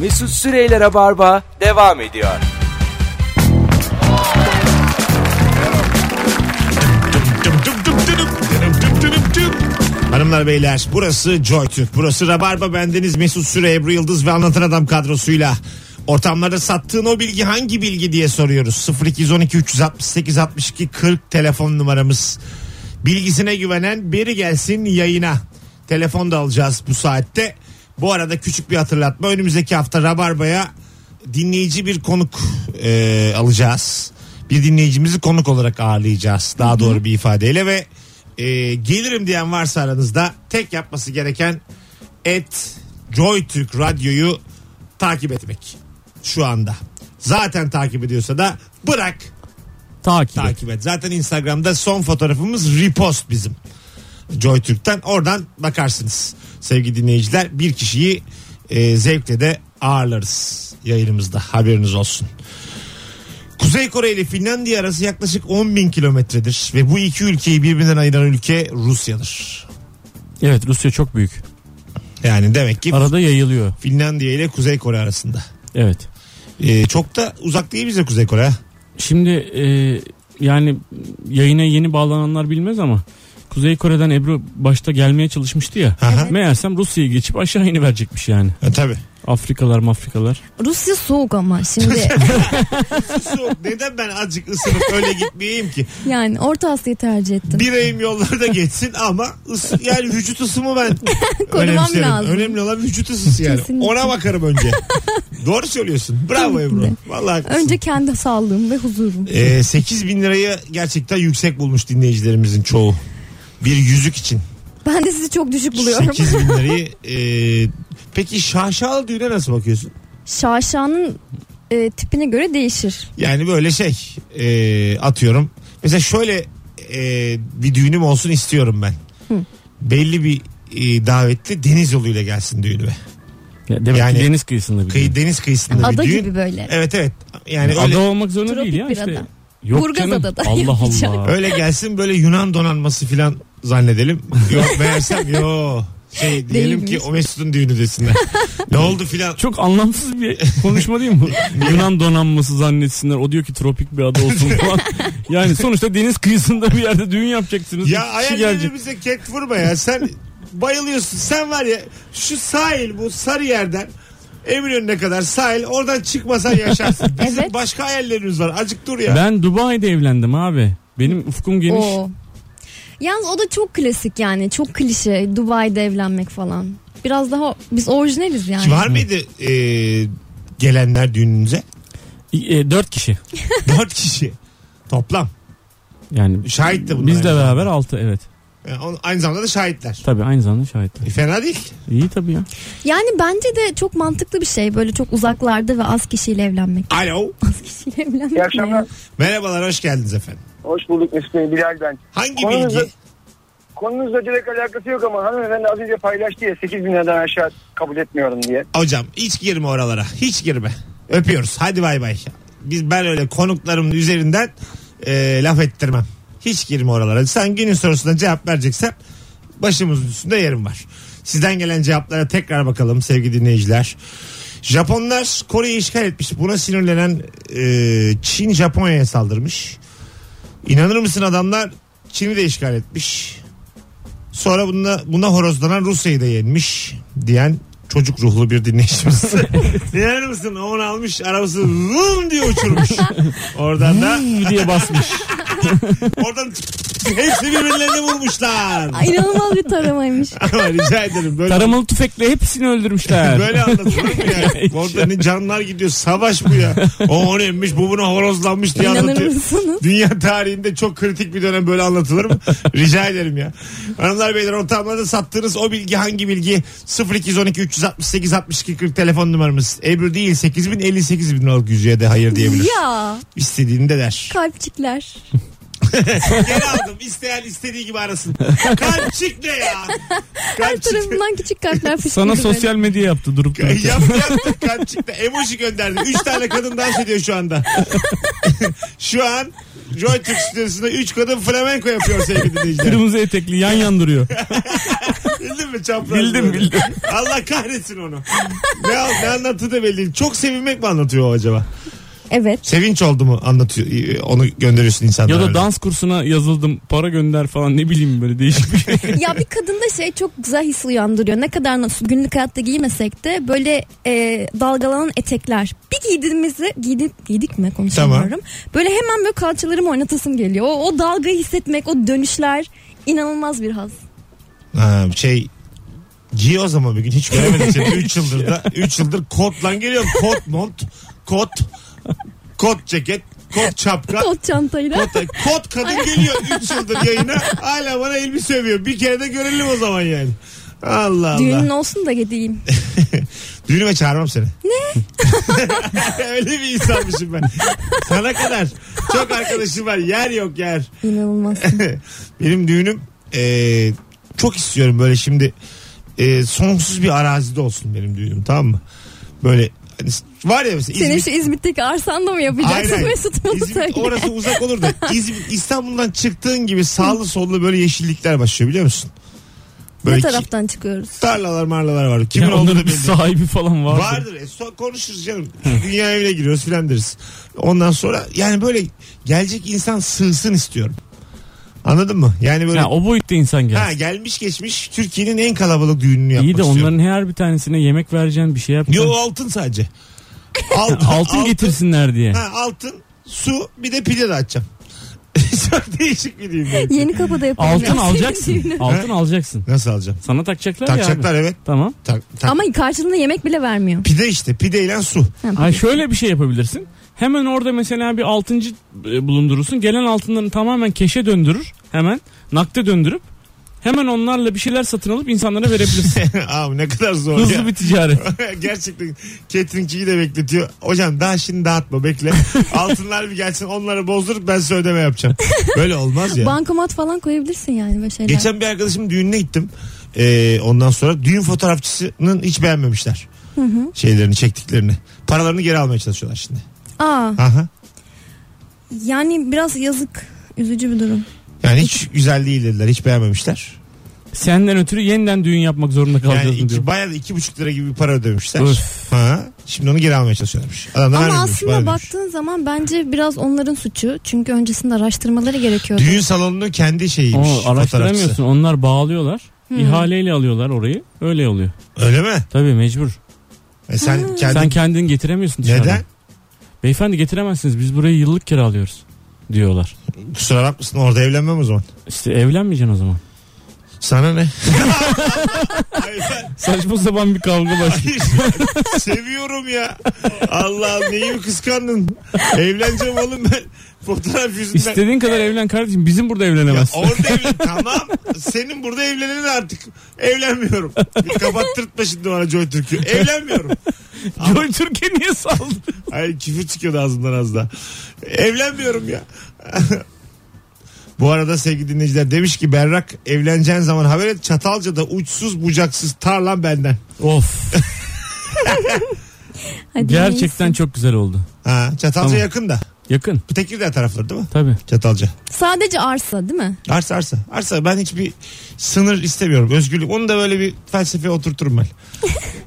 Mesut Süreyler'e barba devam ediyor. Hanımlar beyler burası JoyTürk burası Rabarba bendeniz Mesut Süre Ebru Yıldız ve Anlatan Adam kadrosuyla ortamlarda sattığın o bilgi hangi bilgi diye soruyoruz 0212 368 62 40 telefon numaramız bilgisine güvenen biri gelsin yayına telefon da alacağız bu saatte bu arada küçük bir hatırlatma önümüzdeki hafta Rabarba'ya dinleyici bir konuk e, alacağız bir dinleyicimizi konuk olarak ağırlayacağız daha doğru bir ifadeyle ve e, gelirim diyen varsa aranızda tek yapması gereken et Joytürk Radyo'yu takip etmek şu anda. Zaten takip ediyorsa da bırak Takip. et. takip et. Zaten Instagram'da son fotoğrafımız repost bizim. Joytürk'ten oradan bakarsınız sevgili dinleyiciler. Bir kişiyi e, zevkle de ağırlarız yayınımızda haberiniz olsun. Kuzey Kore ile Finlandiya arası yaklaşık 10 bin kilometredir ve bu iki ülkeyi birbirinden ayıran ülke Rusya'dır. Evet Rusya çok büyük. Yani demek ki Arada yayılıyor. Finlandiya ile Kuzey Kore arasında. Evet. E, çok da uzak değil bize Kuzey Kore. ha? Şimdi e, yani yayına yeni bağlananlar bilmez ama Kuzey Kore'den Ebru başta gelmeye çalışmıştı ya. Aha. Meğersem Rusya'yı geçip aşağı iniverecekmiş yani. E, tabii. Afrikalar mafrikalar. Rusya soğuk ama şimdi Soğuk. Neden ben azıcık ısınıp öyle gitmeyeyim ki? yani Orta Asya'yı tercih ettim. Bireyim yollarda geçsin ama ısı, yani vücut ısımı ben Korumam önemserim. lazım. Önemli olan vücut ısısı yani. Kesinlikle. Ona bakarım önce. Doğru söylüyorsun. Bravo Ebru. Vallahi haklısın. Önce kendi sağlığım ve huzurum. Ee, 8 bin lirayı gerçekten yüksek bulmuş dinleyicilerimizin çoğu. Bir yüzük için. Ben de sizi çok düşük buluyorum. 8 bin lirayı. e, peki şaşalı düğüne nasıl bakıyorsun? Şaşanın e, tipine göre değişir. Yani böyle şey e, atıyorum. Mesela şöyle e, bir düğünüm olsun istiyorum ben. Belli bir e, davetli deniz yoluyla gelsin düğünüme. Ya demek Yani ki deniz kıyısında bir Kıyı, düğün. deniz kıyısında Ada bir düğün. gibi böyle. Evet evet. Yani Ada öyle olmak zorunda Tropik değil ya bir işte. ada. Yok Burgazada'da canım. da Allah yapacağım. Allah. öyle gelsin böyle Yunan donanması filan zannedelim. Yok meğersem yo. Şey diyelim ki Değilmiş. o Mesut'un düğünü desinler. ne oldu filan. Çok anlamsız bir konuşma değil mi? bu? Yunan donanması zannetsinler. O diyor ki tropik bir ada olsun falan. Yani sonuçta deniz kıyısında bir yerde düğün yapacaksınız. Ya İki kişi gelecek. hayallerimize ket vurma ya. Sen bayılıyorsun. Sen var ya şu sahil bu sarı yerden Eminönü'ne kadar sahil oradan çıkmasan yaşarsın. Bizim Evet. başka hayallerimiz var. Acık dur ya. Ben Dubai'de evlendim abi. Benim ufkum geniş. Oo. Yalnız o da çok klasik yani. Çok klişe Dubai'de evlenmek falan. Biraz daha biz orijinaliz yani. Var mıydı e, gelenler düğününüze? E, dört kişi. Dört kişi. Toplam. Yani Şahit de bunlar. biz de Yani. beraber altı evet. Yani on- aynı zamanda da şahitler. Tabii aynı zamanda şahitler. E, fena değil. İyi tabii ya. Yani bence de çok mantıklı bir şey. Böyle çok uzaklarda ve az kişiyle evlenmek. Alo. Az kişiyle evlenmek. İyi akşamlar. ne Merhabalar hoş geldiniz efendim. Hoş bulduk Mesut Bey. Bilal ben. Hangi Konunuzla- bilgi? Konunuzla direkt alakası yok ama hanımefendi az önce paylaştı ya 8 bin liradan aşağı kabul etmiyorum diye. Hocam hiç girme oralara. Hiç girme. Öpüyoruz. Hadi bay bay. Biz ben öyle konuklarımın üzerinden e, laf ettirmem. Hiç girme oralara. Sen günün sorusuna cevap vereceksen başımızın üstünde yerim var. Sizden gelen cevaplara tekrar bakalım sevgili dinleyiciler. Japonlar Kore'yi işgal etmiş. Buna sinirlenen e, Çin Japonya'ya saldırmış. İnanır mısın adamlar Çin'i de işgal etmiş. Sonra buna, buna horozlanan Rusya'yı da yenmiş diyen çocuk ruhlu bir dinleyicimiz. İnanır mısın? Onu almış arabası vum diye uçurmuş. Oradan da diye basmış. oradan hepsi birbirlerini vurmuşlar. Ay, İnanılmaz bir taramaymış. Ama rica ederim böyle Taramalı tüfekle hepsini öldürmüşler. Böyle anlatılır mı yani? Orada ne canlar gidiyor. Savaş bu ya. O onu emmiş bu buna horozlanmış diye İnanır anlatıyor. mısınız? Dünya tarihinde çok kritik bir dönem böyle anlatılır mı? Rica ederim ya. Hanımlar beyler ortamlarda sattığınız o bilgi hangi bilgi? 0212 368 62 40 telefon numaramız. Ebru değil 8000 58 bin liralık yüzüğe de hayır diyebilir. Ya İstediğini de der. kalpçikler. Geri aldım. İsteyen istediği gibi arasın. Kalpçik ne ya? Her Kalpçik. tarafından küçük kalpler fışkırdı. Sana böyle. sosyal medya yaptı durup Yap dururken. yaptı kalpçik de emoji gönderdi. Üç tane kadın dans ediyor şu anda. şu an Joy Türk stüdyosunda 3 kadın flamenko yapıyor sevgili dinleyiciler. Kırmızı etekli yan yan duruyor. Bildin mi çapraz? Bildim, böyle? bildim. Allah kahretsin onu. Ne, al- ne anlattığı da belli değil. Çok sevinmek mi anlatıyor o acaba? Evet. Sevinç oldu mu anlatıyor. e, Onu gönderiyorsun insanlara. ya da öyle. dans kursuna yazıldım para gönder falan ne bileyim böyle değişik bir şey. ya bir kadında şey çok güzel his uyandırıyor. Ne kadar nasıl günlük hayatta giymesek de böyle e, dalgalanan etekler. Bir giydiğimizi giydik, giydik mi konuşamıyorum. Böyle hemen böyle kalçalarımı oynatasım geliyor. O, o dalgayı hissetmek, o dönüşler inanılmaz bir haz. Ha, şey giy o zaman bir gün hiç göremedim seni 3 yıldır da 3 yıldır kot lan geliyorum kot mont kot kot ceket kot çapka Kot çantayla. kot, kot kadın geliyor 3 yıldır yayına hala bana elbise övüyor bir kere de görelim o zaman yani Allah Düğünün Allah. olsun da gideyim. Düğünüme çağırmam seni. Ne? Öyle bir insanmışım ben. Sana kadar. Çok arkadaşım var. Yer yok yer. İnanılmaz. Benim düğünüm e, çok istiyorum böyle şimdi e, sonsuz bir arazide olsun benim düğünüm tamam mı? Böyle hani var ya mesela Senin İzmit- şu İzmit'teki arsanda mı yapacaksın Aynen. Mesut bunu İzmit- söyle. orası uzak olur da İzmit, İstanbul'dan çıktığın gibi sağlı sollu böyle yeşillikler başlıyor biliyor musun? Böyle Ne ki- taraftan çıkıyoruz? tarlalar marlalar var. Kimin Yani olduğu da onların bir belli. sahibi falan vardı. Vardır. E, so- konuşuruz canım. Dünya evine giriyoruz filan deriz. Ondan sonra yani böyle gelecek insan sığsın istiyorum. Anladın mı? Yani böyle Ya o boyutta insan Ha gelsin. gelmiş geçmiş Türkiye'nin en kalabalık düğününü yapmak İyi de istiyorum. onların her bir tanesine yemek vereceksin bir şey yapacaksın. Yo altın sadece. Altın, Altın getirsinler diye. Ha, altın, su bir de pide de açacağım. Çok değişik bir düğün. benim. Yeni kapıda yapalım. Altın ya. alacaksın. Altın alacaksın. Nasıl alacağım? Sana takacaklar, ya. Takacaklar abi. evet. Tamam. Tak, tak. Ama karşılığında yemek bile vermiyor. Pide işte pideyle su. Ha, şöyle bir şey yapabilirsin. Hemen orada mesela bir altıncı e, bulundurursun. Gelen altınlarını tamamen keşe döndürür. Hemen nakde döndürüp hemen onlarla bir şeyler satın alıp insanlara verebilirsin. Abi ne kadar zor ya. Hızlı bir ticaret. Gerçekten cateringçiyi de bekletiyor. Hocam daha şimdi dağıtma bekle. Altınlar bir gelsin onları bozdurup ben size ödeme yapacağım. Böyle olmaz ya. Bankomat falan koyabilirsin yani böyle şeyler. Geçen bir arkadaşımın düğününe gittim. Ee, ondan sonra düğün fotoğrafçısının hiç beğenmemişler. Şeylerini çektiklerini. Paralarını geri almaya çalışıyorlar şimdi. Aa, Aha. yani biraz yazık. Üzücü bir durum. Yani hiç güzel değil dediler. Hiç beğenmemişler. Senden ötürü yeniden düğün yapmak zorunda Yani kalacaksın diyor. iki, bayağı da iki buçuk lira gibi bir para ödemişler. Öf. Ha. Şimdi onu geri almaya çalışıyorlarmış. Adamlar Ama vermiyormuş, aslında bana demiş. baktığın zaman bence biraz onların suçu. Çünkü öncesinde araştırmaları gerekiyordu. Düğün salonunun kendi şeyiymiş. Oo, fotoğrafçısı. araştıramıyorsun. Onlar bağlıyorlar. Hı. İhaleyle alıyorlar orayı. Öyle oluyor. Öyle mi? Tabii mecbur. E sen kendi... Sen kendin getiremiyorsun dışarıdan. Neden? Beyefendi getiremezsiniz biz burayı yıllık kiralıyoruz diyorlar. Kusura bakmasın orada evlenmem o zaman. İşte evlenmeyeceksin o zaman. Sana ne? Hayır, Saçma sapan bir kavga başlıyor. Hayır. Seviyorum ya. Allah'ım neyi mi kıskandın? Evleneceğim oğlum ben. Fotoğraf yüzünden. İstediğin kadar evlen kardeşim bizim burada Ya evlenemezsin. orada evlen. Tamam. Senin burada evlenin artık. Evlenmiyorum. Bir kapattırtma şimdi bana Joy Türk'ü. Evlenmiyorum. Joy Türkiye niye saldı? Ay küfür çıkıyordu ağzımdan az da. Evlenmiyorum ya. Bu arada sevgili dinleyiciler demiş ki Berrak evleneceğin zaman haber et Çatalca'da uçsuz bucaksız tarlan benden. of Hadi gerçekten neyse. çok güzel oldu. Ha, Çatalca Tamam. yakın da. Yakın Bu Tekirdağ tarafları değil mi? tabii. Çatalca. Sadece arsa değil mi? Arsa arsa. Arsa ben hiçbir sınır istemiyorum. Özgürlük. Onu da böyle bir felsefeye oturturum ben.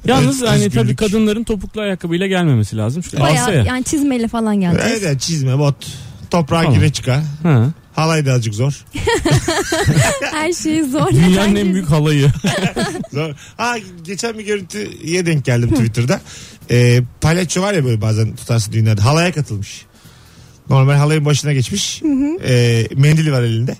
Yalnız Evet, hani özgürlük. tabii kadınların topuklu ayakkabıyla gelmemesi lazım. Çünkü Bayağı arsaya. yani çizmeyle falan Evet, geleceğiz. evet, çizme bot. Toprağa Tamam. gire çıka. Ha. Halay da azıcık zor. Her şeyi zor. Dünyanın en büyük halayı. zor. Ha, geçen bir görüntüye denk geldim Twitter'da. Ee, palyaço var ya böyle bazen tutarsın düğünlerde. Halaya katılmış. Normal halayın başına geçmiş. Ee, mendili var elinde.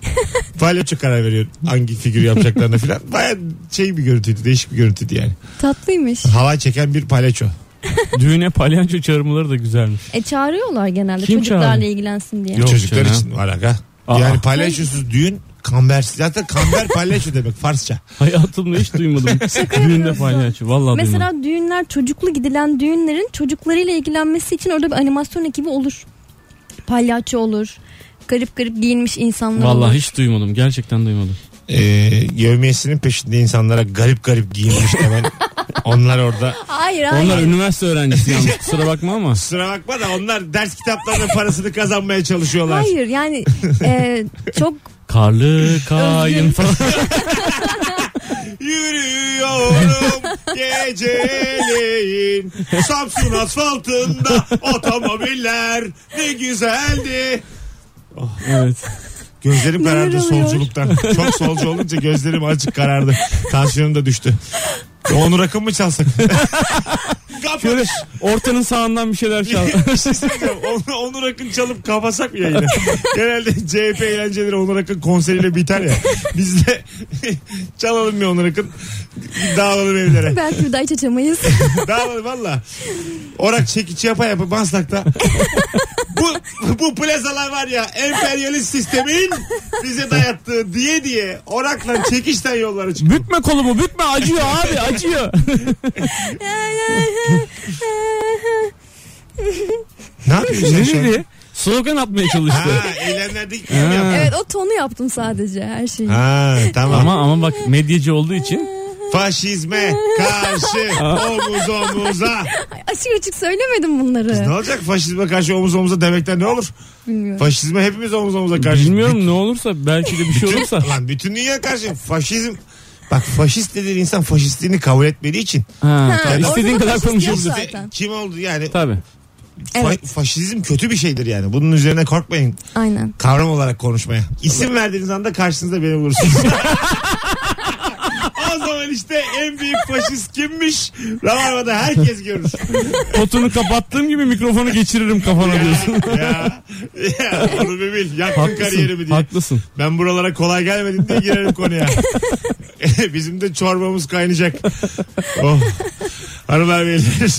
palyaço karar veriyor hangi figür yapacaklarına filan. Baya şey bir görüntüydü. Değişik bir görüntüydü yani. Tatlıymış. Halay çeken bir palyaço. Düğüne palyaço çağırmaları da güzelmiş. E çağırıyorlar genelde Kim çocuklarla çağırıyor? ilgilensin diye. Yok Çocuklar canım. için var aga. Aa. Yani palyaçosuz düğün kambersiz. Zaten kamber palyaço demek Farsça. Hayatımda hiç duymadım. Düğünde yapıyorsun. palyaço. Vallahi duymadım. Mesela düğünler çocuklu gidilen düğünlerin çocuklarıyla ilgilenmesi için orada bir animasyon ekibi olur. Palyaço olur. Garip garip giyinmiş insanlar olur. Vallahi hiç duymadım. Gerçekten duymadım. Ee, yevmiyesinin peşinde insanlara garip garip giyinmiş de ben Onlar orada. Hayır hayır. Onlar üniversite öğrencisi yalnız kusura bakma ama. Kusura bakma da onlar ders kitaplarının parasını kazanmaya çalışıyorlar. Hayır yani e, çok Karlı kayın falan. Yürüyorum geceleyin Samsun asfaltında otomobiller ne güzeldi. evet. Gözlerim Neler karardı oluyor? solculuktan. Çok solcu olunca gözlerim açık karardı. Tansiyonum da düştü. Onur Akın mı çalsak? Şöyle Kapat. ortanın sağından bir şeyler çal. Bir şey söyleyeceğim. Onur, Onur Akın çalıp kapasak mı yayını? Genelde CHP eğlenceleri Onur Akın konseriyle biter ya. Biz de çalalım bir Onur Akın. Dağılalım evlere. belki bir daha hiç açamayız. Dağılır valla. Orak çekiç yapa yapı Maslak'ta. bu, bu plazalar var ya emperyalist sistemin bize dayattığı diye diye orakla çekişten yollara çıkıyor. Bütme kolumu bütme acıyor abi acıyor. ne yapıyorsun ne sen şu an? dedi? Slogan atmaya çalıştı. Şey, Ha eğlenlerdeki gibi yaptın. evet o tonu yaptım sadece her şeyi. Ha tamam. ama ama bak medyacı olduğu için Faşizme karşı omuz omuza. Ay, açık açık söylemedim bunları. Ne olacak faşizme karşı omuz omuza demekten ne olur? Bilmiyorum. Faşizme hepimiz omuz omuza karşı. bilmiyorum ne olursa belki de bir şey olursa. Lan bütün dünya karşı faşizm. Bak faşist dediğin insan faşistliğini kabul etmediği için Ha, Ha, istediğin ortada kadar faşist konuşursun. yoksa- Zaten. Kim oldu yani? Tabii. Fa- Evet. faşizm kötü bir şeydir yani. Bunun üzerine korkmayın. Aynen. Kavram olarak konuşmaya. İsim verdiğiniz anda karşınızda beni bulursunuz. o zaman işte en büyük faşist kimmiş? Rabarba'da herkes görür. Potunu kapattığım gibi mikrofonu geçiririm kafana diyorsun. ya, ya onu bir bil. Yaktın kariyerimi haklısın. diye. Haklısın. Ben buralara kolay gelmedim diye girerim konuya. Bizim de çorbamız kaynayacak. Oh. Hanımlar beyler.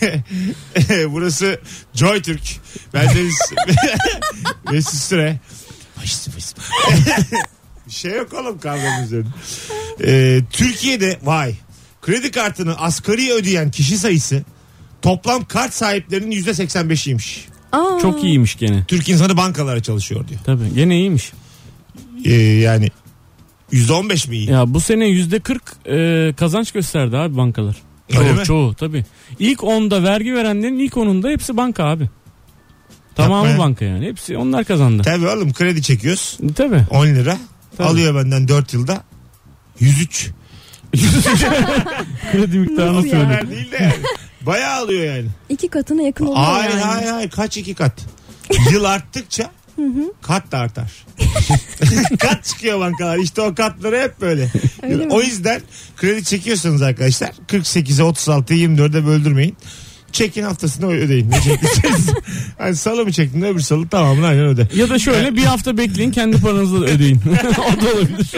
Burası Joy Türk. Bendeniz Mesut Süre. Faşist, faşist. Bir şey yok oğlum kavramın üzerinde. Ee, Türkiye'de vay kredi kartını asgari ödeyen kişi sayısı toplam kart sahiplerinin %85'iymiş. Aa, Çok iyiymiş gene. Türk insanı bankalara çalışıyor diyor. Tabii gene iyiymiş. Ee, yani %15 mi iyi? Ya bu sene yüzde 40 e, kazanç gösterdi abi bankalar. Çoğu, Öyle mi? çoğu tabii. İlk 10'da vergi verenlerin ilk 10'unda hepsi banka abi. Tamamı Yapma ya. banka yani. Hepsi onlar kazandı. Tabii oğlum kredi çekiyoruz. Tabii. 10 lira. Tabii. Alıyor benden 4 yılda. 103. Kredi miktarını Nasıl ya? söyle. Her değil de yani. Bayağı alıyor yani. iki katına yakın oluyor Hayır yani. hayır hayır kaç iki kat. Yıl arttıkça kat da artar. kat çıkıyor bankalar. İşte o katları hep böyle. Öyle mi? o yüzden kredi çekiyorsanız arkadaşlar 48'e 36'ya 24'e böldürmeyin. Çekin haftasını ödeyin. Ne çekeceksiniz? hani salı mı çektin öbür salı tamamını aynen öde. Ya da şöyle bir hafta bekleyin kendi paranızı da ödeyin. o da olabilir.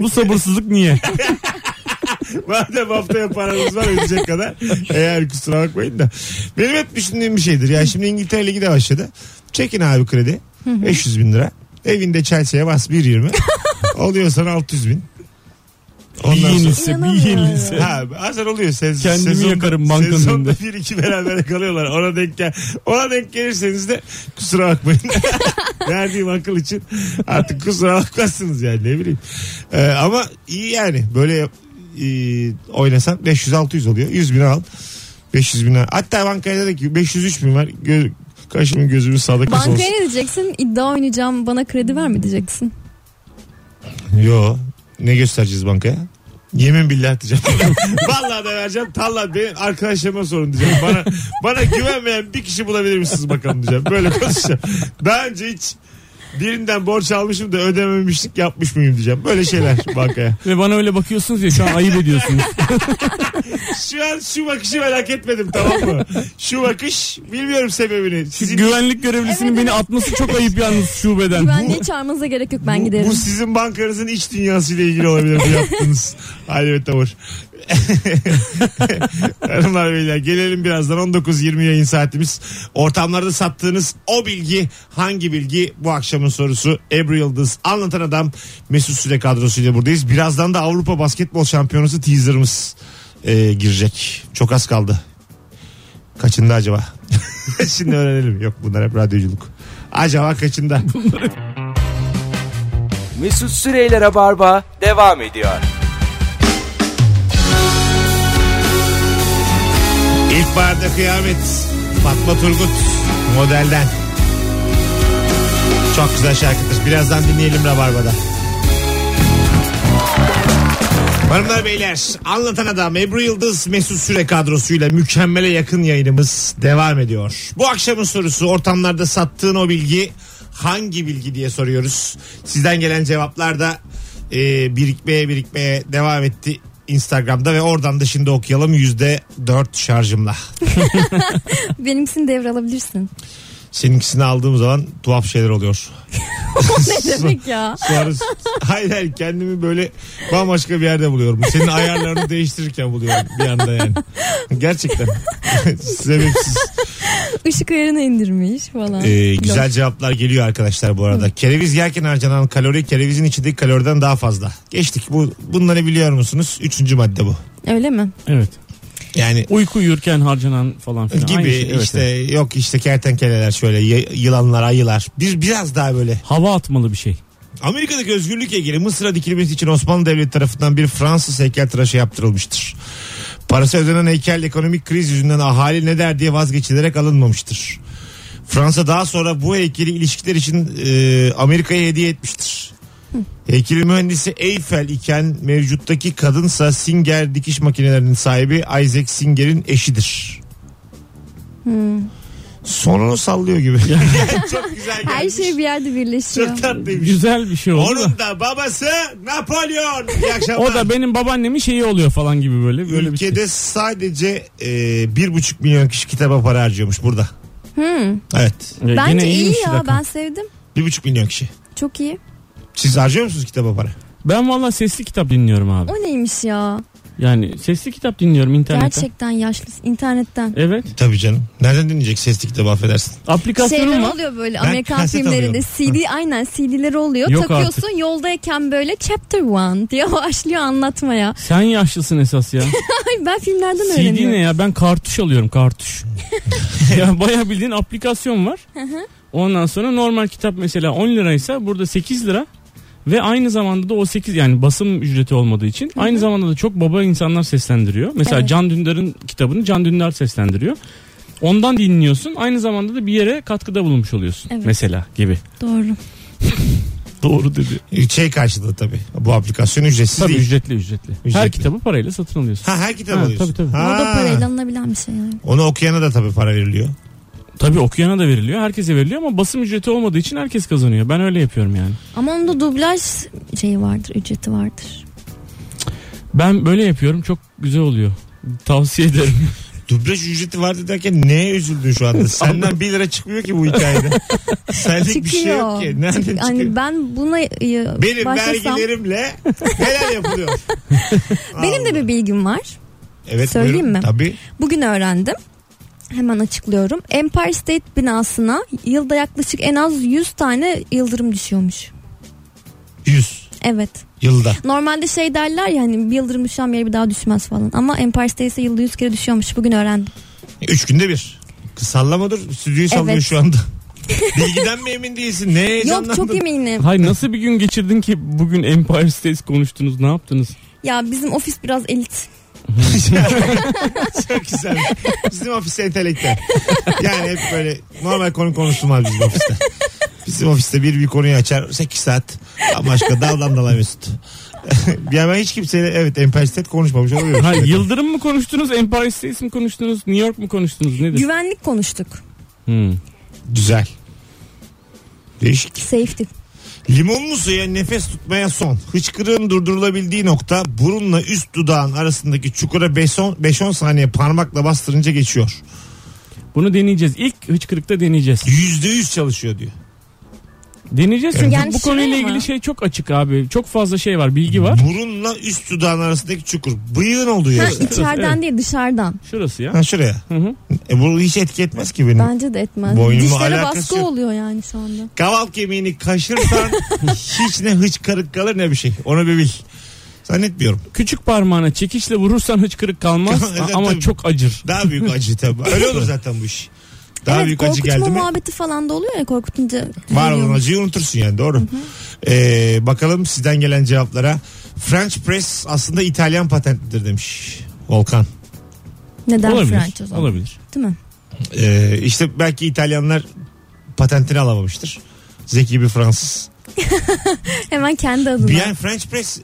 bu sabırsızlık niye? Madem haftaya paranız var ödeyecek kadar. Eğer kusura bakmayın da. Benim hep düşündüğüm bir şeydir. Yani şimdi İngiltere Ligi de başladı. Çekin abi kredi. 500 bin lira. Evinde Chelsea'ye bas 1.20. Oluyor sana 600 bin. Bir Ondan sonra... yenilse bir yenilse. Ha, bazen oluyor. Sez, Kendimi sezonda- yakarım bankanın Sezonda önünde. 1-2 beraber kalıyorlar. Ona denk, gel, ona denk gelirseniz de kusura bakmayın. Verdiğim akıl için artık kusura bakmazsınız yani ne bileyim. Ee, ama iyi yani böyle yap- e, oynasan 500-600 oluyor. 100 bin al. 500 bin al. Hatta bankaya dedi ki 503 bin var. Gö kaşımın gözümün sağda kız olsun. Bankaya ne diyeceksin? İddia oynayacağım bana kredi ver mi diyeceksin? Yo. Ne göstereceğiz bankaya? Yemin billah diyeceğim. Vallahi da vereceğim. Tallah benim arkadaşlarıma sorun diyeceğim. Bana bana güvenmeyen bir kişi bulabilir misiniz bakalım diyeceğim. Böyle konuşacağım. Daha önce hiç birinden borç almışım da ödememişlik yapmış mıyım diyeceğim. Böyle şeyler bankaya. Ve bana öyle bakıyorsunuz ya şu an ayıp ediyorsunuz. Şu an şu bakışı merak etmedim tamam mı? Şu bakış bilmiyorum sebebini. Sizin, Güvenlik görevlisinin beni atması çok ayıp yalnız şubeden. Güvenliği çağırmanıza gerek yok ben bu, giderim. bu sizin bankanızın iç dünyasıyla ilgili olabilir bu yaptığınız hal ve tavır. Hanımlar beyler gelelim birazdan 19.20 yayın saatimiz. Ortamlarda sattığınız o bilgi hangi bilgi bu akşamın sorusu. Ebru Yıldız anlatan adam Mesut Süre kadrosuyla buradayız. Birazdan da Avrupa Basketbol Şampiyonası teaserımız e, girecek. Çok az kaldı. Kaçında acaba? Şimdi öğrenelim. Yok bunlar hep radyoculuk. Acaba kaçında? Mesut Süreyler'e barba devam ediyor. İlkbaharda kıyamet. Fatma Turgut modelden. Çok güzel şarkıdır. Birazdan dinleyelim Rabarba'da. Hanımlar beyler anlatan adam Ebru Yıldız Mesut Süre kadrosuyla mükemmele yakın yayınımız devam ediyor. Bu akşamın sorusu ortamlarda sattığın o bilgi hangi bilgi diye soruyoruz. Sizden gelen cevaplar da e, birikmeye birikmeye devam etti Instagram'da ve oradan da şimdi okuyalım %4 şarjımla. Benimkisini devralabilirsin. Seninkisini aldığım zaman tuhaf şeyler oluyor. ne demek ya? Sonra hayır hayır kendimi böyle bambaşka bir yerde buluyorum. Senin ayarlarını değiştirirken buluyorum bir anda yani. Gerçekten. Sebepsiz. Işık ayarına indirmiş falan. Ee, güzel cevaplar geliyor arkadaşlar bu arada. Kereviz yerken harcanan kalori kerevizin içindeki kaloriden daha fazla. Geçtik. Bu, bunları biliyor musunuz? Üçüncü madde bu. Öyle mi? Evet. Yani Uyku uyurken harcanan falan filan. gibi Aynı şey, evet, işte evet. yok işte kertenkeleler şöyle y- yılanlar ayılar. Bir, biraz daha böyle Hava atmalı bir şey. Amerika'daki özgürlük heykeli Mısır'a dikilmesi için Osmanlı Devleti tarafından bir Fransız heykeltıraşı yaptırılmıştır. Parası ödenen heykel ekonomik kriz yüzünden ahali ne der diye vazgeçilerek alınmamıştır. Fransa daha sonra bu heykeli ilişkiler için e, Amerika'ya hediye etmiştir. Heykelin mühendisi Eiffel iken mevcuttaki kadınsa Singer dikiş makinelerinin sahibi Isaac Singer'in eşidir. Hmm. Sonunu sallıyor gibi. Çok güzel Her gelmiş. şey bir yerde birleşiyor. Çok tatlıymış. Güzel bir şey oldu. da. Onun da babası Napolyon. İyi akşamlar. O da benim babaannemin şeyi oluyor falan gibi böyle. böyle Ülkede bir şey. sadece e, bir buçuk milyon kişi kitaba para harcıyormuş burada. Hmm. Evet. Ee, Bence gene iyi iyiymiş ya rakam. ben sevdim. Bir buçuk milyon kişi. Çok iyi. Siz harcıyor musunuz kitaba para? Ben valla sesli kitap dinliyorum abi. O neymiş ya? Yani sesli kitap dinliyorum internetten. Gerçekten yaşlı internetten. Evet. Tabii canım. Nereden dinleyecek sesli kitabı affedersin? Aplikasyonum Şeyler var. oluyor böyle Ben Amerikan kaset filmlerinde alıyorum. CD aynen CD'ler oluyor. Yok Takıyorsun yoldayken böyle chapter one diye başlıyor anlatmaya. Sen yaşlısın esas ya. Hayır ben filmlerden CD öğreniyorum. ne ya? Ben kartuş alıyorum kartuş. ya bayağı bildiğin aplikasyon var. Ondan sonra normal kitap mesela 10 liraysa burada 8 lira. Ve aynı zamanda da o 8 yani basım ücreti olmadığı için aynı zamanda da çok baba insanlar seslendiriyor. Mesela Evet. Can Dündar'ın kitabını Can Dündar seslendiriyor. Ondan dinliyorsun. Aynı zamanda da bir yere katkıda bulunmuş oluyorsun. Evet. Mesela gibi. Doğru. Doğru dedi. Şey karşılığı tabii. Bu aplikasyon ücretsiz Tabii değil. ücretli ücretli. Ücretli. Her kitabı parayla satın alıyorsun. Ha her kitabı Ha, alıyorsun. tabii, tabii. Ha. O da parayla alınabilen bir şey yani. Onu okuyana da tabii para veriliyor. Tabii okuyana da veriliyor. Herkese veriliyor ama basım ücreti olmadığı için herkes kazanıyor. Ben öyle yapıyorum yani. Ama onun da dublaj şeyi vardır, ücreti vardır. Ben böyle yapıyorum çok güzel oluyor. Tavsiye ederim. Dublaj ücreti vardı derken neye üzüldün şu anda? Senden 1 lira çıkmıyor ki bu hikayede. Senlik bir şey yok ki. Nereden Çık- çıkıyor? hani ben buna e, Benim başlasam. vergilerimle neler yapılıyor? Benim de bir bilgim var. evet, Söyleyeyim mi? Tabii. Bugün öğrendim. Hemen açıklıyorum. Empire State binasına yılda yaklaşık en az 100 tane yıldırım düşüyormuş. 100 Evet. yılda. Normalde şey derler ya hani bir yıldırım düşen bir yere bir daha düşmez falan. Ama Empire State'e yılda 100 kere düşüyormuş. Bugün öğrendim. 3 günde bir. Sallamadır. Stüdyoyu sallıyor Evet. şu anda. Bilgiden mi emin değilsin? Ne heyecanlandın? Yok çok eminim. Hayır nasıl bir gün geçirdin ki bugün Empire States konuştunuz ne yaptınız? Ya bizim ofis biraz elit. çok güzel. Bizim ofis entelektüel. Yani hep böyle normal konu konuşulmaz bizim ofiste. Bizim ofiste bir bir konuyu açar 8 saat. Başka daldan dala mesut. bir hemen hiç kimseyle evet Empire State konuşmamış oluyor. Hayır yıldırım mı konuştunuz Empire States mi konuştunuz New York mu konuştunuz nedir? Güvenlik konuştuk. Hmm. Güzel. Değişik. Safety. Limonlu suya nefes tutmaya son. Hıçkırığın durdurulabildiği nokta burunla üst dudağın arasındaki çukura 5-10 saniye parmakla bastırınca geçiyor. Bunu deneyeceğiz. İlk hıçkırıkta deneyeceğiz. %100 çalışıyor diyor. Deneyeceğiz çünkü Yani bu konuyla şöyle ilgili mi? şey çok açık abi. Çok fazla şey var bilgi var. Burunla üst dudağın arasındaki çukur. Bıyığın olduğu Ha, yer. işte. içeriden Evet. değil dışarıdan. Şurası ya. Ha şuraya. Hı hı. E bu hiç etki etmez ki benim. Bence de etmez. Boynuma Dişlere alakası baskı yok. oluyor yani şu anda. Kaval kemiğini kaşırsan hiç ne hıçkırık kalır ne bir şey. Onu bir bil. Zannetmiyorum. Küçük parmağına çekişle vurursan hıçkırık kalmaz Evet, ama tabii. çok acır. Daha büyük acı tabii. Öyle olur zaten bu iş. Daha evet, büyük acı korkutma geldi mi? muhabbeti falan da oluyor ya korkutunca. Var olan düzeliyor. acıyı unutursun yani doğru. Ee, bakalım sizden gelen cevaplara. French press aslında İtalyan patentidir demiş Volkan. Neden olabilir. French o zaman? Olabilir. Değil mi? Ee, işte belki İtalyanlar patentini alamamıştır. Zeki bir Fransız. Hemen kendi adına. Bien French Press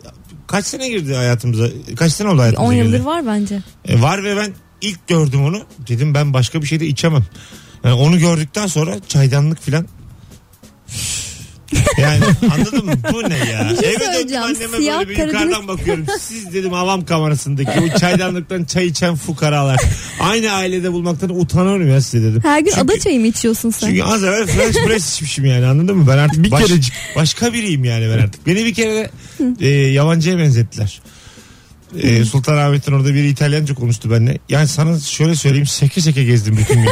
kaç sene girdi hayatımıza? Kaç sene oldu hayatımıza? 10 yıldır girdi? var bence. E, var ve ben ilk gördüm onu. Dedim ben başka bir şey de içemem. Yani onu gördükten sonra çaydanlık filan. Yani anladın mı? Bu ne ya? Bir şey Eve döndüm söyleyeceğim. anneme Siyah böyle bir yukarıdan Karadeniz- bakıyorum. Siz dedim avam kamerasındaki o çaydanlıktan çay içen fukaralar. Aynı ailede bulmaktan utanıyorum ya size dedim. Her gün Çünkü- ada çayı mı içiyorsun sen? Çünkü az evvel French press içmişim yani anladın mı? Ben artık Bir kerecik. başka biriyim yani ben artık. Beni bir kere de, e, yabancıya benzettiler. E, Sultanahmet'ten orada biri İtalyanca konuştu benimle. Yani sana şöyle söyleyeyim seke seke gezdim bütün gün.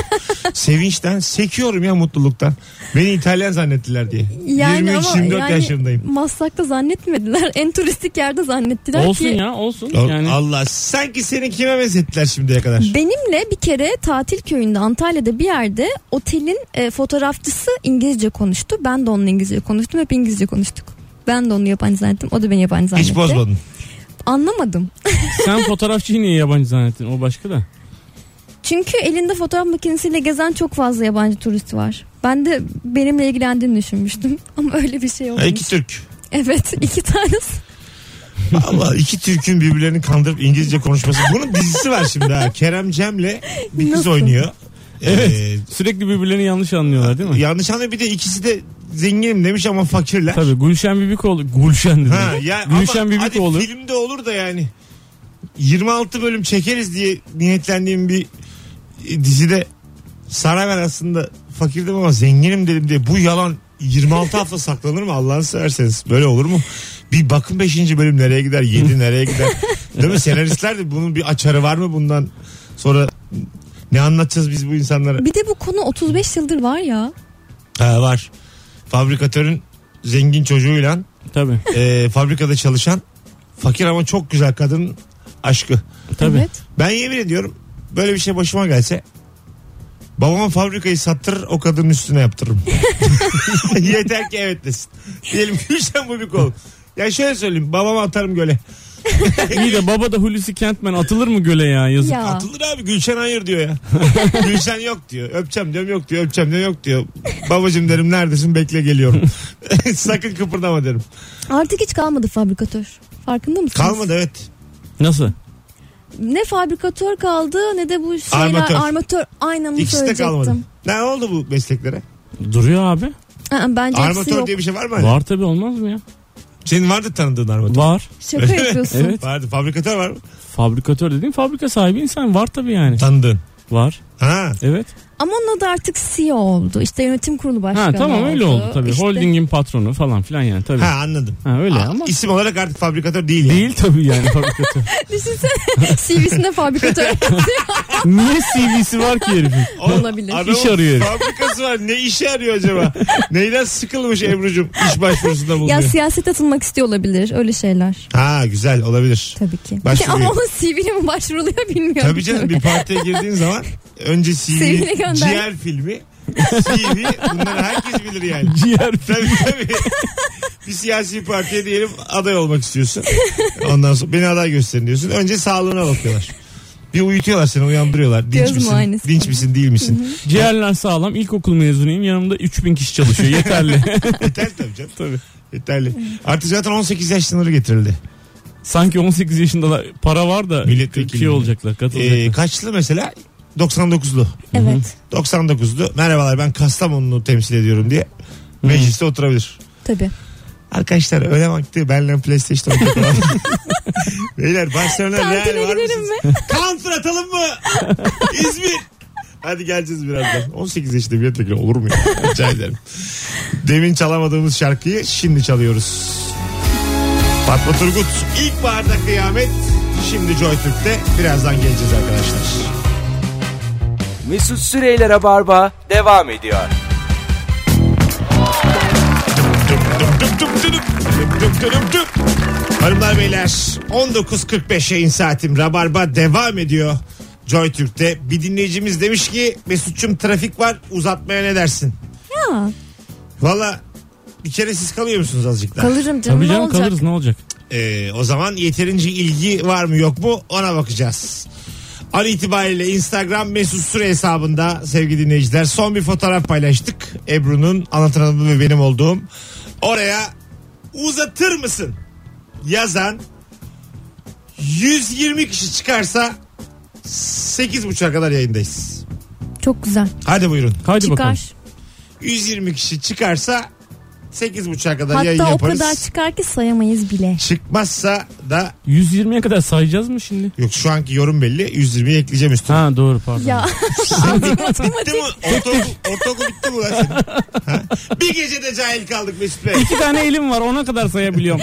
Sevinçten sekiyorum ya mutluluktan. Beni İtalyan zannettiler diye. 23-24 yaşındayım. Maslak'ta zannetmediler. En turistik yerde zannettiler olsun ki. ya olsun. Doğru. Yani Allah sanki seni kime benzettiler şimdiye kadar? Benimle bir kere tatil köyünde Antalya'da bir yerde otelin e, fotoğrafçısı İngilizce konuştu. Ben de onunla İngilizce konuştum. Hep İngilizce konuştuk. Ben de onu yabancı zannettim. O da beni yabancı zannetti. Hiç bozmadın. Anlamadım. sen fotoğrafçıyı niye yabancı zannettin? O başka da. Çünkü elinde fotoğraf makinesiyle gezen çok fazla yabancı turist var. Ben de benimle ilgilendiğini düşünmüştüm. Ama öyle bir şey Ha, olmamış. iki Türk. Evet iki tanesi. Allah iki Türk'ün birbirlerini kandırıp İngilizce konuşması. Bunun dizisi var şimdi ha. Kerem Cem'le bir kız Nasıl? oynuyor. Ee, Sürekli birbirlerini yanlış anlıyorlar değil mi? yanlış anlıyor bir de ikisi de zenginim demiş ama fakirler. Tabii Gülşen Bibikoğlu. Gülşen dedim. Ha, ya, Gülşen ama hadi Bibikoğlu. filmde olur da yani. 26 bölüm çekeriz diye niyetlendiğim bir e, dizide saray ben aslında fakirdim ama zenginim dedim diye bu yalan 26 hafta saklanır mı Allah'ını severseniz böyle olur mu? Bir bakın 5. bölüm nereye gider 7 nereye gider değil mi senaristler de bunun bir açarı var mı bundan sonra ne anlatacağız biz bu insanlara? Bir de bu konu 35 yıldır var ya. Ha, var fabrikatörün zengin çocuğuyla Tabii. e, fabrikada çalışan fakir ama çok güzel kadın aşkı. Tabii. Evet. Ben yemin ediyorum böyle bir şey başıma gelse babama fabrikayı sattırır o kadının üstüne yaptırırım. Yeter ki evet desin. Diyelim Gülşen Bubikoğlu. Ya şöyle söyleyeyim babama atarım göle. İyi de baba da Hulusi Kentmen atılır mı göle ya yazık. Ya. Atılır abi Gülşen hayır diyor ya. Gülşen yok diyor. Öpeceğim diyorum yok diyor. Öpeceğim diyorum yok diyor. Babacım derim neredesin bekle geliyorum. Sakın kıpırdama derim. Artık hiç kalmadı fabrikatör. Farkında mısınız? Kalmadı evet. Nasıl? Ne fabrikatör kaldı ne de bu şeyler Armatör. armatör. Aynen onu İkisi de söyleyecektim. kalmadı. Ne oldu bu mesleklere? Duruyor abi. Aa, bence hepsi Armatör yok. diye bir şey var mı? hala? Var tabii olmaz mı ya? Senin vardı tanıdığın armatör. Var. Şaka yapıyorsun. Evet. Vardı. Fabrikatör var mı? Fabrikatör dediğin fabrika sahibi insan var tabii yani. Tanıdığın. Var. Ha. Evet. Ama onun adı artık CEO oldu. İşte yönetim kurulu başkanı Ha tamam oldu. öyle oldu tabii. İşte Holdingin patronu falan filan yani tabii. Ha Ha, anladım. öyle Aa, ama İsim olarak artık fabrikatör değil. yani. değil tabii yani fabrikatör. Düşünsene CV'sinde fabrikatör. Niye CV'si var ki herifin? O- Olabilir. adamın İş arıyor. Fabrikası var. Ne işe arıyor acaba? Neyden sıkılmış Ebru'cum iş başvurusunda bulunuyor. ya siyaset atılmak istiyor olabilir. Öyle şeyler. ha güzel olabilir. Tabii ki. Başvuruyor. Ama onun CV'li mi başvuruluyor bilmiyorum. Tabii canım bir partiye girdiğin zaman önce CV, Sevgili gönder. ciğer filmi, CV bunları herkes bilir yani. Ciğer. Tabii tabii. Bir siyasi partiye diyelim aday olmak istiyorsun. Ondan sonra beni aday gösterin diyorsun. Önce sağlığına bakıyorlar. Bir uyutuyorlar seni uyandırıyorlar. Dinç Göz misin? muayenesi. Dinç misin değil misin? Ciğerler sağlam. İlkokul mezunuyum. Yanımda 3000 kişi çalışıyor. Yeterli. Yeterli tabii canım. tabii. Yeterli. Artık zaten 18 yaş sınırı getirildi. Sanki 18 yaşındalar para var da Milletvekili. şey olacaklar katılacaklar. Ee, kaçlı mesela? 99'lu. Evet. 99'lu. Merhabalar ben Kastamonu'nu temsil ediyorum diye mecliste oturabilir. Tabii. Arkadaşlar öyle vakti benle PlayStation oynayalım. Beyler Barcelona Tatile Real var gidelim mısınız? Counter atalım mı? İzmir. Hadi geleceğiz birazdan. 18 yaşında milletvekili olur mu ya? Rica ederim. Demin çalamadığımız şarkıyı şimdi çalıyoruz. Fatma Turgut ilk barda kıyamet. Şimdi Joy Türk'te birazdan geleceğiz arkadaşlar. Mesut Süreyler'e barba devam ediyor. Dup dup dup dup dup dup dup. Hanımlar beyler 19.45 yayın saatim Rabarba devam ediyor. Joy Türk'te bir dinleyicimiz demiş ki Mesut'cum trafik var uzatmaya ne dersin? Ya, Valla bir kere siz kalıyor musunuz azıcık daha? kalırım canım. Tabii ne canım olacak? kalırız ne olacak? Ee, o zaman yeterince ilgi var mı yok mu ona bakacağız. An itibariyle Instagram mesut süre hesabında sevgili dinleyiciler son bir fotoğraf paylaştık. Ebru'nun anlatan adamı ve benim olduğum. Oraya uzatır mısın yazan 120 kişi çıkarsa 8.30'a kadar yayındayız. Çok güzel. Hadi buyurun. Hadi bakalım. Çıkar. 120 kişi çıkarsa 8.30'a kadar yayın Hatta o yaparız. kadar çıkar ki sayamayız bile. Çıkmazsa da 120'ye kadar sayacağız mı şimdi? yok şu anki yorum belli 120'yi ekleyeceğim üstüne. Ha doğru pardon. Ya Bitti mi? Ortaokul, ortaokul bitti mi lan senin? Ha? Bir gecede cahil kaldık Mesut Bey. İki tane elim var ona kadar sayabiliyorum.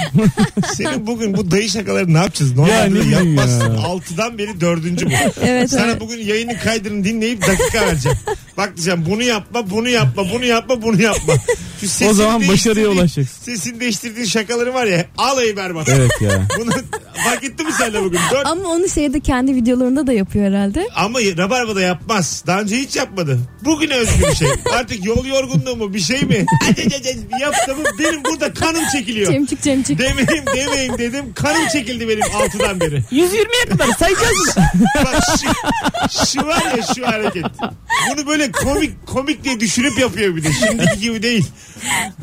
Senin bugün bu dayı şakaları ne yapacağız? Normalde ne ya, bileyim yapmazsın. ya. Altıdan beri dördüncü bu. evet Sana evet. bugün yayının kaydını dinleyip dakika vereceğim. Bak diyeceğim bunu yapma, bunu yapma, bunu yapma, bunu yapma. Şu sesini O zaman değiştirdiğin- başarıya ulaşacaksın. Sesini değiştirdiğin şakaları var ya alayı berbat. evet ya. Bunu fark etti mi sen de bugün? Dört. Ama onu şeyde kendi videolarında da yapıyor herhalde. Ama Rabarba'da yapmaz. Daha önce hiç yapmadı. Bugün özgü bir şey. Artık yol yorgunluğu mu bir şey mi? Yaptı mı? Benim burada kanım çekiliyor. Cemcik cemcik. Demeyim demeyim dedim. Kanım çekildi benim altıdan beri. 120'ye kadar sayacağız. Bak şu, şu var ya şu hareket. Bunu böyle komik komik diye düşünüp yapıyor bir de. Şimdiki gibi değil.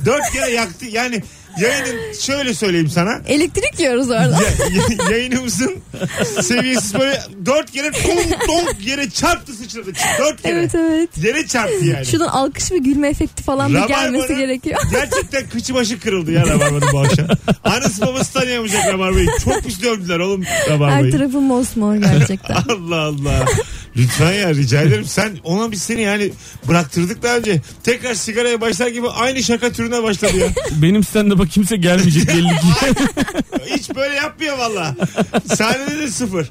Dört kere yaktı. Yani yayının şöyle söyleyeyim sana. Elektrik yiyoruz orada. Ya- ya- yayınımızın seviyesiz böyle dört kere donk donk yere çarptı sıçradı. Dört kere. evet evet. Yere çarptı yani. Şunun alkış ve gülme efekti falan da Rabarbanın gelmesi gerekiyor. Gerçekten kıçı başı kırıldı ya Rabarba'nın bu akşam. Anası babası tanıyamayacak Rabarba'yı. Çok pis dövdüler oğlum Her Rabarba'yı. tarafı mosmor gerçekten. Allah Allah. Lütfen ya rica ederim. Sen ona biz seni yani bıraktırdık daha önce. Tekrar sigaraya başlar gibi aynı şaka türüne başladı ya. Benim stand-up'a kimse gelmeyecek belli ki. Hiç böyle yapmıyor valla. Sahnede de sıfır.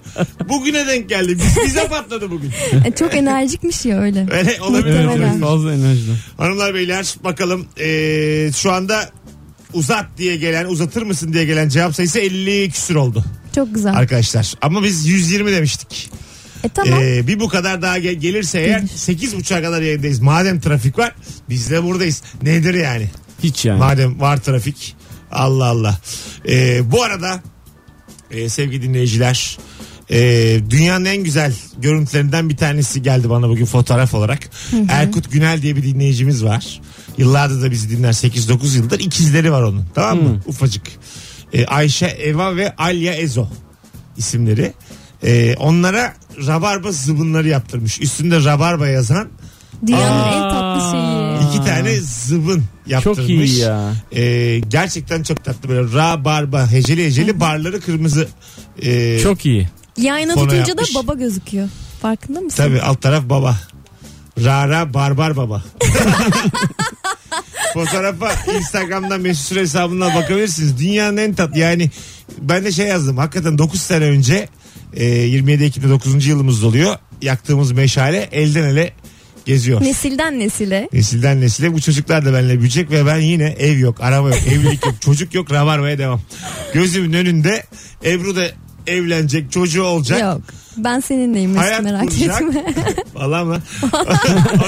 Bugüne denk geldi. Biz, bize patladı bugün. E, Çok enerjikmiş ya öyle. Öyle olabilir. evet, Muhtemelen. evet, fazla enerjiden. Hanımlar beyler bakalım Ee, şu anda uzat diye gelen uzatır mısın diye gelen cevap sayısı 50 küsür oldu Çok güzel. arkadaşlar. Ama biz 120 demiştik. E tamam. Ee, bir bu kadar daha gel- gelirse eğer 8.30'a kadar yayındayız. Madem trafik var biz de buradayız. Nedir yani? Hiç yani. Madem var trafik. Allah Allah. Ee, bu arada e, sevgili dinleyiciler e, dünyanın en güzel görüntülerinden bir tanesi geldi bana bugün fotoğraf olarak. Erkut Günel diye bir dinleyicimiz var. Yıllardır da bizi dinler 8-9 yıldır. İkizleri var onun tamam mı? Ufacık. E, Ayşe Eva ve Alya Ezo isimleri. E, onlara rabarba zıbınları yaptırmış. Üstünde rabarba yazan Dünyanın Aa. en tatlı şeyi. iki tane zıbın Çok yaptırmış. iyi ya. Ee, gerçekten çok tatlı böyle rabarba heceli heceli barları kırmızı. Ee, Çok iyi. Yayına Fona tutunca da yapmış. baba gözüküyor. Farkında mısın? Tabii alt taraf baba. Rara barbar baba. Fotoğrafa Instagram'dan Mesut Süre hesabından bakabilirsiniz. Dünyanın en tatlı yani ben de şey yazdım hakikaten 9 sene önce e, 27 Ekim'de 9. yılımız oluyor. Yaktığımız meşale elden ele geziyor. Nesilden nesile. Nesilden nesile bu çocuklar da benimle büyüyecek ve ben yine ev yok, araba yok, evlilik yok, çocuk yok, rabarmaya devam. Gözümün önünde Ebru da evlenecek, çocuğu olacak. Yok. Ben seninleyim Hayat Mesut merak kuracak. etme. Valla mı?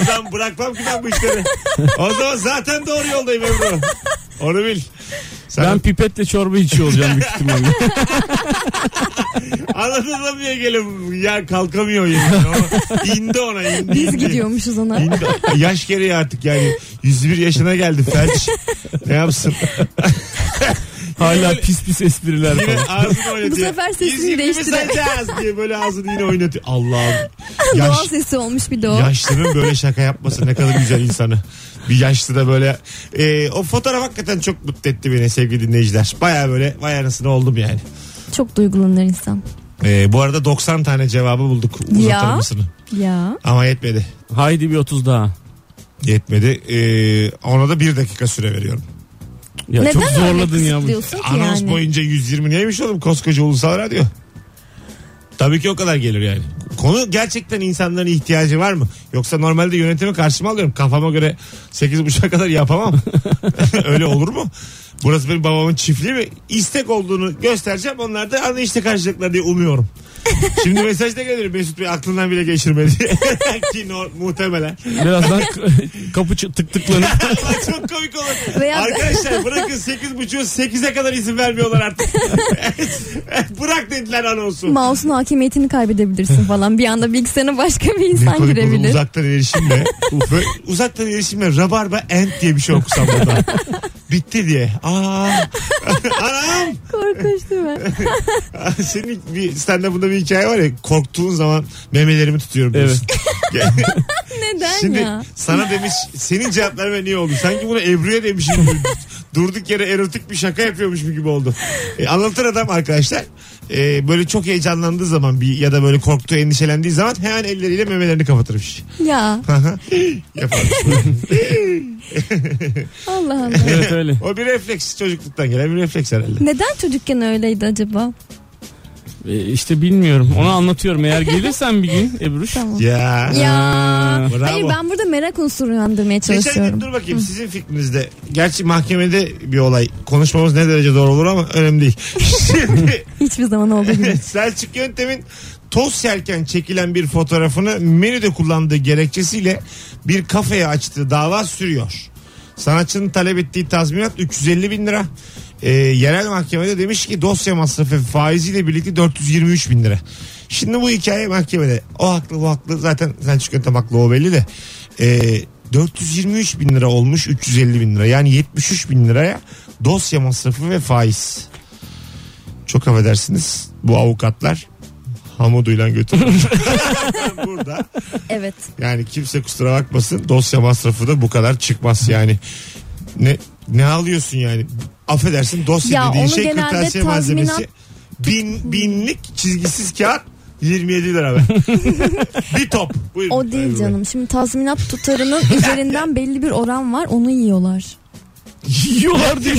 o zaman bırakmam ki ben bu işleri. O zaman zaten doğru yoldayım Ebru. Onu bil. Sen Ben pipetle çorba içiyor olacağım büyük ihtimalle. anladın mı ya gelin ya kalkamıyor yani. O indi ona indi. Biz indi. gidiyormuşuz ona. İndi. Yaş gereği artık yani 101 yaşına geldi felç. Ne yapsın? Hala pis pis espriler Yine falan. ağzını oynatıyor. Bu sefer sesini İzmirli mi değiştiren. sayacağız diye böyle ağzını yine oynatıyor. Allah'ım. Yaş, Doğal sesi olmuş bir de o. yaşlının böyle şaka yapması ne kadar güzel insanı. Bir yaşlı da böyle. Ee, o fotoğraf hakikaten çok mutlu etti beni sevgili dinleyiciler. Baya böyle vay anasını oldum yani. Çok duygulanır insan. Ee, bu arada 90 tane cevabı bulduk uzatır Ya. mısını? Ya. Ama yetmedi. Haydi bir 30 daha. Yetmedi. Ee, ona da bir dakika süre veriyorum. Ya Neden çok öyle zorladın ya. bu. kısıtlıyorsun ki Anons yani? boyunca 120 neymiş oğlum koskoca ulusal radyo. Tabii ki o kadar gelir yani. Konu gerçekten insanların ihtiyacı var mı? Yoksa normalde yönetimi karşıma alıyorum. Kafama göre 8.30'a kadar yapamam. Öyle olur mu? Burası benim babamın çiftliği mi? İstek olduğunu göstereceğim. Onlar da anlayışla karşılayacaklar diye umuyorum. Şimdi mesajda gelir Mesut Bey aklından bile geçirmedi. Ki no- muhtemelen. Birazdan k- kapı çı- tık tıklanıp Çok komik olur. Veya- Arkadaşlar bırakın 8.30'u 8'e kadar izin vermiyorlar artık. Bırak dediler anonsu. Mouse'un hakimiyetini kaybedebilirsin falan. Bir anda bilgisayarına başka bir Ne insan komik olur, girebilir. Uzaktan erişimle. Böyle uzaktan erişimle rabarba end diye bir şey okusam burada. Bitti diye. Aa. Anam. Korkunç değil mi? Senin bir stand-up'ında bir hikaye var ya korktuğun zaman memelerimi tutuyorum diyorsun. Neden Şimdi ya? sana demiş senin cevaplarına niye oldu? Sanki bunu Ebru'ya demişim gibi. Durduk yere erotik bir şaka yapıyormuş gibi oldu. E, anlatır adam arkadaşlar. E, böyle çok heyecanlandığı zaman bir ya da böyle korktuğu endişelendiği zaman hemen elleriyle memelerini kapatırmış. Ya Yaparmış. Allah Allah. evet öyle. o bir refleks çocukluktan gelen bir refleks herhalde. Neden çocukken öyleydi acaba? E, işte bilmiyorum. Onu anlatıyorum. Eğer gelirsen bir gün Ebruş. Tamam. Ya. Ya. Bravo. Hayır ben burada merak unsuru uyandırmaya Geçen gün çalışıyorum. dur bakayım sizin fikrinizde. Gerçi mahkemede bir olay. Konuşmamız ne derece doğru olur ama önemli değil. Şimdi Hiçbir zaman olduğu gibi. Selçuk Yöntem'in toz yerken çekilen bir fotoğrafını menüde kullandığı gerekçesiyle bir kafeye açtığı dava sürüyor. Sanatçının talep ettiği tazminat 350 bin lira. Ee, yerel mahkemede demiş ki dosya masrafı ve faiziyle birlikte 423 bin lira. Şimdi bu hikaye mahkemede. O haklı bu haklı zaten Selçuk Yöntem haklı o belli de. Ee, 423 bin lira olmuş 350 bin lira. Yani 73 bin liraya dosya masrafı ve faiz. Çok affedersiniz bu avukatlar hamuduyla götürür. Burada Evet. yani kimse kusura bakmasın dosya masrafı da bu kadar çıkmaz yani. Ne ne alıyorsun yani? Affedersin dosya Ya dediğin onu şey genelde kırtasiye tazminat- malzemesi. Bin, binlik çizgisiz kağıt 27 lira ben. bir top. Buyurun. O değil canım. Şimdi tazminat tutarının üzerinden belli bir oran var. Onu yiyorlar. Yiyorlar diye.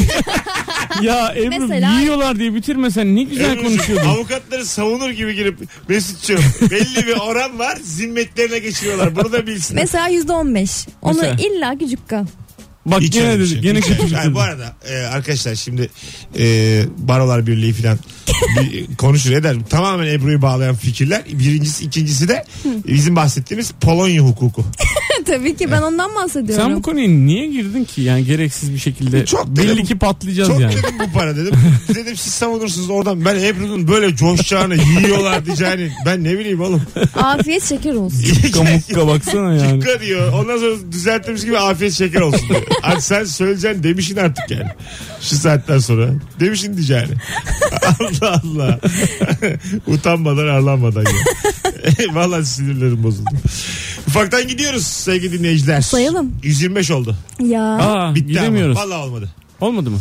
ya Ebru Mesela- yiyorlar diye bitirmesen ne güzel Ebru'cum, konuşuyordun. Avukatları savunur gibi girip Mesut'cum belli bir oran var zimmetlerine geçiriyorlar. Bunu da bilsin. Mesela yüzde on beş. Onu Mesela. illa küçük kal. Bak Hiç gene öyle bir dedi. şey. Gene Hiç kötü öyle- Hayır, bitirdin. Bu arada e, arkadaşlar şimdi e, Barolar Birliği falan bir konuşur eder. Tamamen Ebru'yu bağlayan fikirler. Birincisi ikincisi de bizim bahsettiğimiz Polonya hukuku. Tabii ki ben ondan bahsediyorum. Sen bu konuya niye girdin ki? Yani gereksiz bir şekilde. Çok dedim. belli ki patlayacağız Çok yani. dedim bu para dedim. Dedim siz savunursunuz oradan. Ben Ebru'nun böyle coşacağını yiyorlar diyeceğini ben ne bileyim oğlum. Afiyet şeker olsun. Kamukka baksana yani. Cukka diyor. Ondan sonra düzeltmiş gibi afiyet şeker olsun diyor. Artık sen söyleyeceksin demişin artık yani. Şu saatten sonra. Demişin diyeceğini. Allah Allah. Utanmadan arlanmadan ya. Valla sinirlerim bozuldu. Ufaktan gidiyoruz sevgili dinleyiciler. Sayalım. 125 oldu. Ya. Aa Bitti gidemiyoruz. ama. Valla olmadı. Olmadı mı?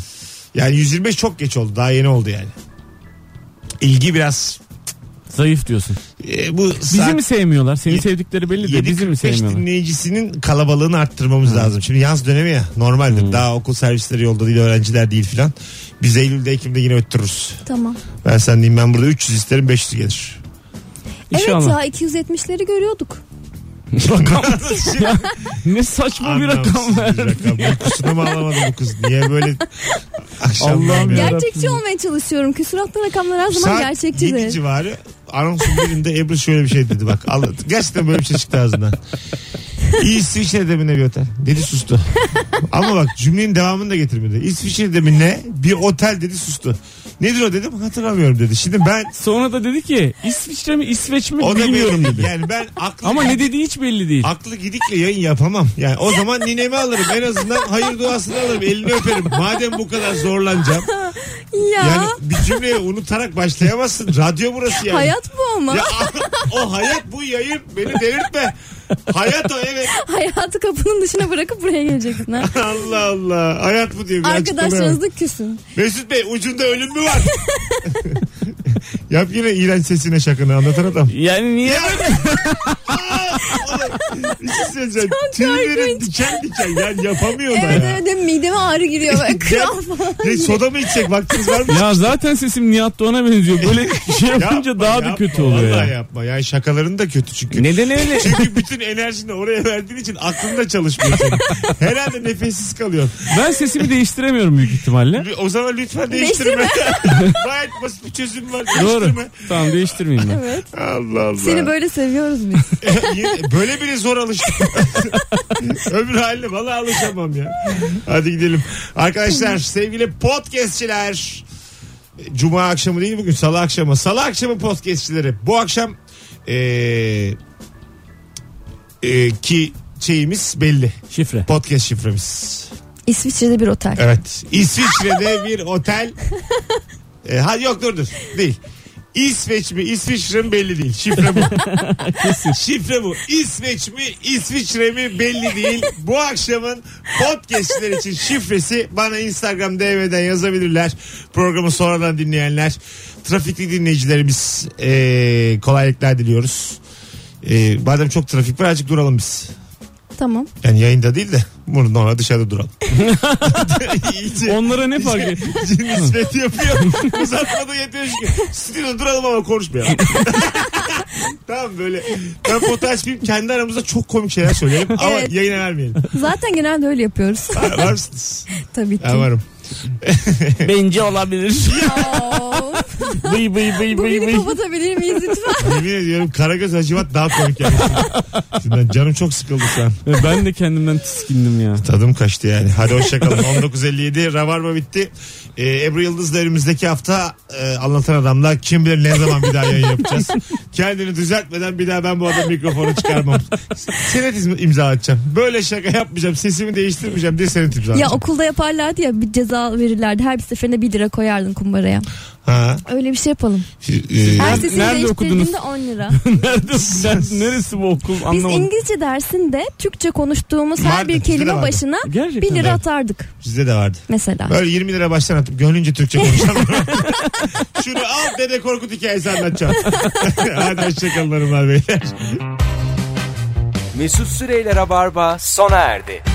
Yani 125 çok geç oldu. Daha yeni oldu yani. İlgi biraz Zayıf diyorsun. e, bu Bizi saat- mi sevmiyorlar? Seni Ye- sevdikleri belli de bizi mi 7.45 sevmiyorlar? dinleyicisinin kalabalığını arttırmamız lazım. Şimdi yaz dönemi ya normaldir. Hmm. Daha okul servisleri yolda değil öğrenciler değil filan. Biz Eylül'de Ekim'de yine öttürürüz. Tamam. Ben sen diyeyim ben burada 300 isterim 500 gelir. Evet İnşallah. ya 270'leri görüyorduk. Şimdi Ne saçma bir anlamsız rakam ver. rakam. Bu kusunu mu alamadı bu kız? Niye böyle akşam Allah'ım ya. ya. Gerçekçi Yarabbim. olmaya çalışıyorum. Küsuratlı rakamlar her zaman Saat gerçekçi 7 değil. civarı anonsun birinde Ebru şöyle bir şey dedi bak. Allah, gerçekten böyle bir şey çıktı ağzından. İsviçre'de mi ne bir otel? Dedi sustu. Ama bak cümlenin devamını da getirmedi. İsviçre'de mi ne bir otel dedi sustu. Nedir o dedim hatırlamıyorum dedi. Şimdi ben Sonra da dedi ki İsviçre mi İsveç mi o da bilmiyorum benim- dedi. Yani ben aklı, Ama ne dediği hiç belli değil. aklı gidikle yayın yapamam. Yani o zaman ninemi alırım en azından hayır duasını alırım elini öperim. Madem bu kadar zorlanacağım. Ya. Yani bir cümleyi unutarak başlayamazsın. Radyo burası yani. Hayat bu ama. Ya, o hayat bu yayın beni delirtme. Hayat o evet. Hayatı kapının dışına bırakıp buraya geleceksin. Ha? Allah Allah. Hayat bu diye bir açıklama yok. Arkadaşlarınızla küsün. Mesut Bey ucunda ölüm mü var? Yap yine iğrenç sesine şakını anlatan adam. Yani niye? Ya. Aa, Bir şey söyleyeceğim. Tüylerim diken diken. Yani yapamıyor da Evet ya. evet benim mideme ağrı giriyor böyle kral falan. Ya soda mı içecek vaktiniz var mı? Ya zaten sesim Nihat Doğan'a benziyor. Böyle şey yapınca daha da yapma, kötü oluyor Vallahi ya. yapma. Yani şakaların da kötü çünkü. Neden öyle? Çünkü bütün enerjini oraya verdiğin için aklın da çalışmıyor. senin. Herhalde nefessiz kalıyorsun. Ben sesimi değiştiremiyorum büyük ihtimalle. O zaman lütfen değiştirme. Gayet basit bir çözüm var. Doğru. Değiştirme. Tamam değiştirmeyeyim ben. Evet. Allah Allah. Seni böyle seviyoruz biz. Yine- Böyle bile zor alıştım. Öbür haline valla alışamam ya. Hadi gidelim. Arkadaşlar sevgili podcastçiler. Cuma akşamı değil bugün salı akşamı. Salı akşamı podcastçileri. Bu akşam eee, eee, ki şeyimiz belli. Şifre. Podcast şifremiz. İsviçre'de bir otel. Evet. İsviçre'de bir otel. E, ha yok dur dur. Değil. İsveç mi İsviçre mi belli değil. Şifre bu. Şifre bu. İsveç mi İsviçre mi belli değil. Bu akşamın podcastler için şifresi bana Instagram DM'den yazabilirler. Programı sonradan dinleyenler. Trafikli dinleyicilerimiz e, kolaylıklar diliyoruz. E, madem çok trafik var azıcık duralım biz. Tamam. Yani yayında değil de bunu normal dışarıda duralım. İyice- Onlara ne fark Şey- et? Cin nispeti yapıyor. Uzatmadan yetiyor çünkü. Stüdyoda duralım ama konuşmayalım. tamam böyle. Ben potaş film kendi aramızda çok komik şeyler söyleyelim ama Evet. yayına vermeyelim. Zaten genelde öyle yapıyoruz. Ha, Var mısınız? Tabii ki. Ben varım. Bence olabilir. Oo, bıy bıy bıy Bu bıy beni bıy. kapatabilir miyiz lütfen? Yemin ediyorum Karagöz Hacivat daha komik yani. Şimdi ben canım çok sıkıldı şu an. Ve Ben de kendimden tiskindim ya. Tadım kaçtı yani. Hadi hoşçakalın. 19.57 Rabarba bitti. Ee, Ebru Yıldız'la önümüzdeki hafta e, anlatan adamla kim bilir ne zaman bir daha yayın yapacağız. Kendini düzeltmeden bir daha ben bu adam mikrofonu çıkarmam. Senet im- imza atacağım. Böyle şaka yapmayacağım. Sesimi değiştirmeyeceğim diye senet imza ya atacağım. okulda yaparlardı ya bir ceza verirlerdi. Her bir seferinde 1 lira koyardın kumbaraya. Ha. Öyle bir şey yapalım. Ee, Her Nerede- sesini nerede değiştirdiğinde 10 lira. Nerede, nerede- neresi bu okul Biz anlamadım. İngilizce dersinde Türkçe konuştuğumuz her Vardı, bir bizde de kelime vardı. başına Gerçekten 1 de. lira atardık Sizde de vardı. mesela. Böyle 20 lira baştan atıp gönlünce Türkçe konuşalım. Şunu al dede Korkut hikayesi anlatacağım. Hadi hoşçakalın hanımlar beyler. Mesut Süreyler'e barba sona erdi.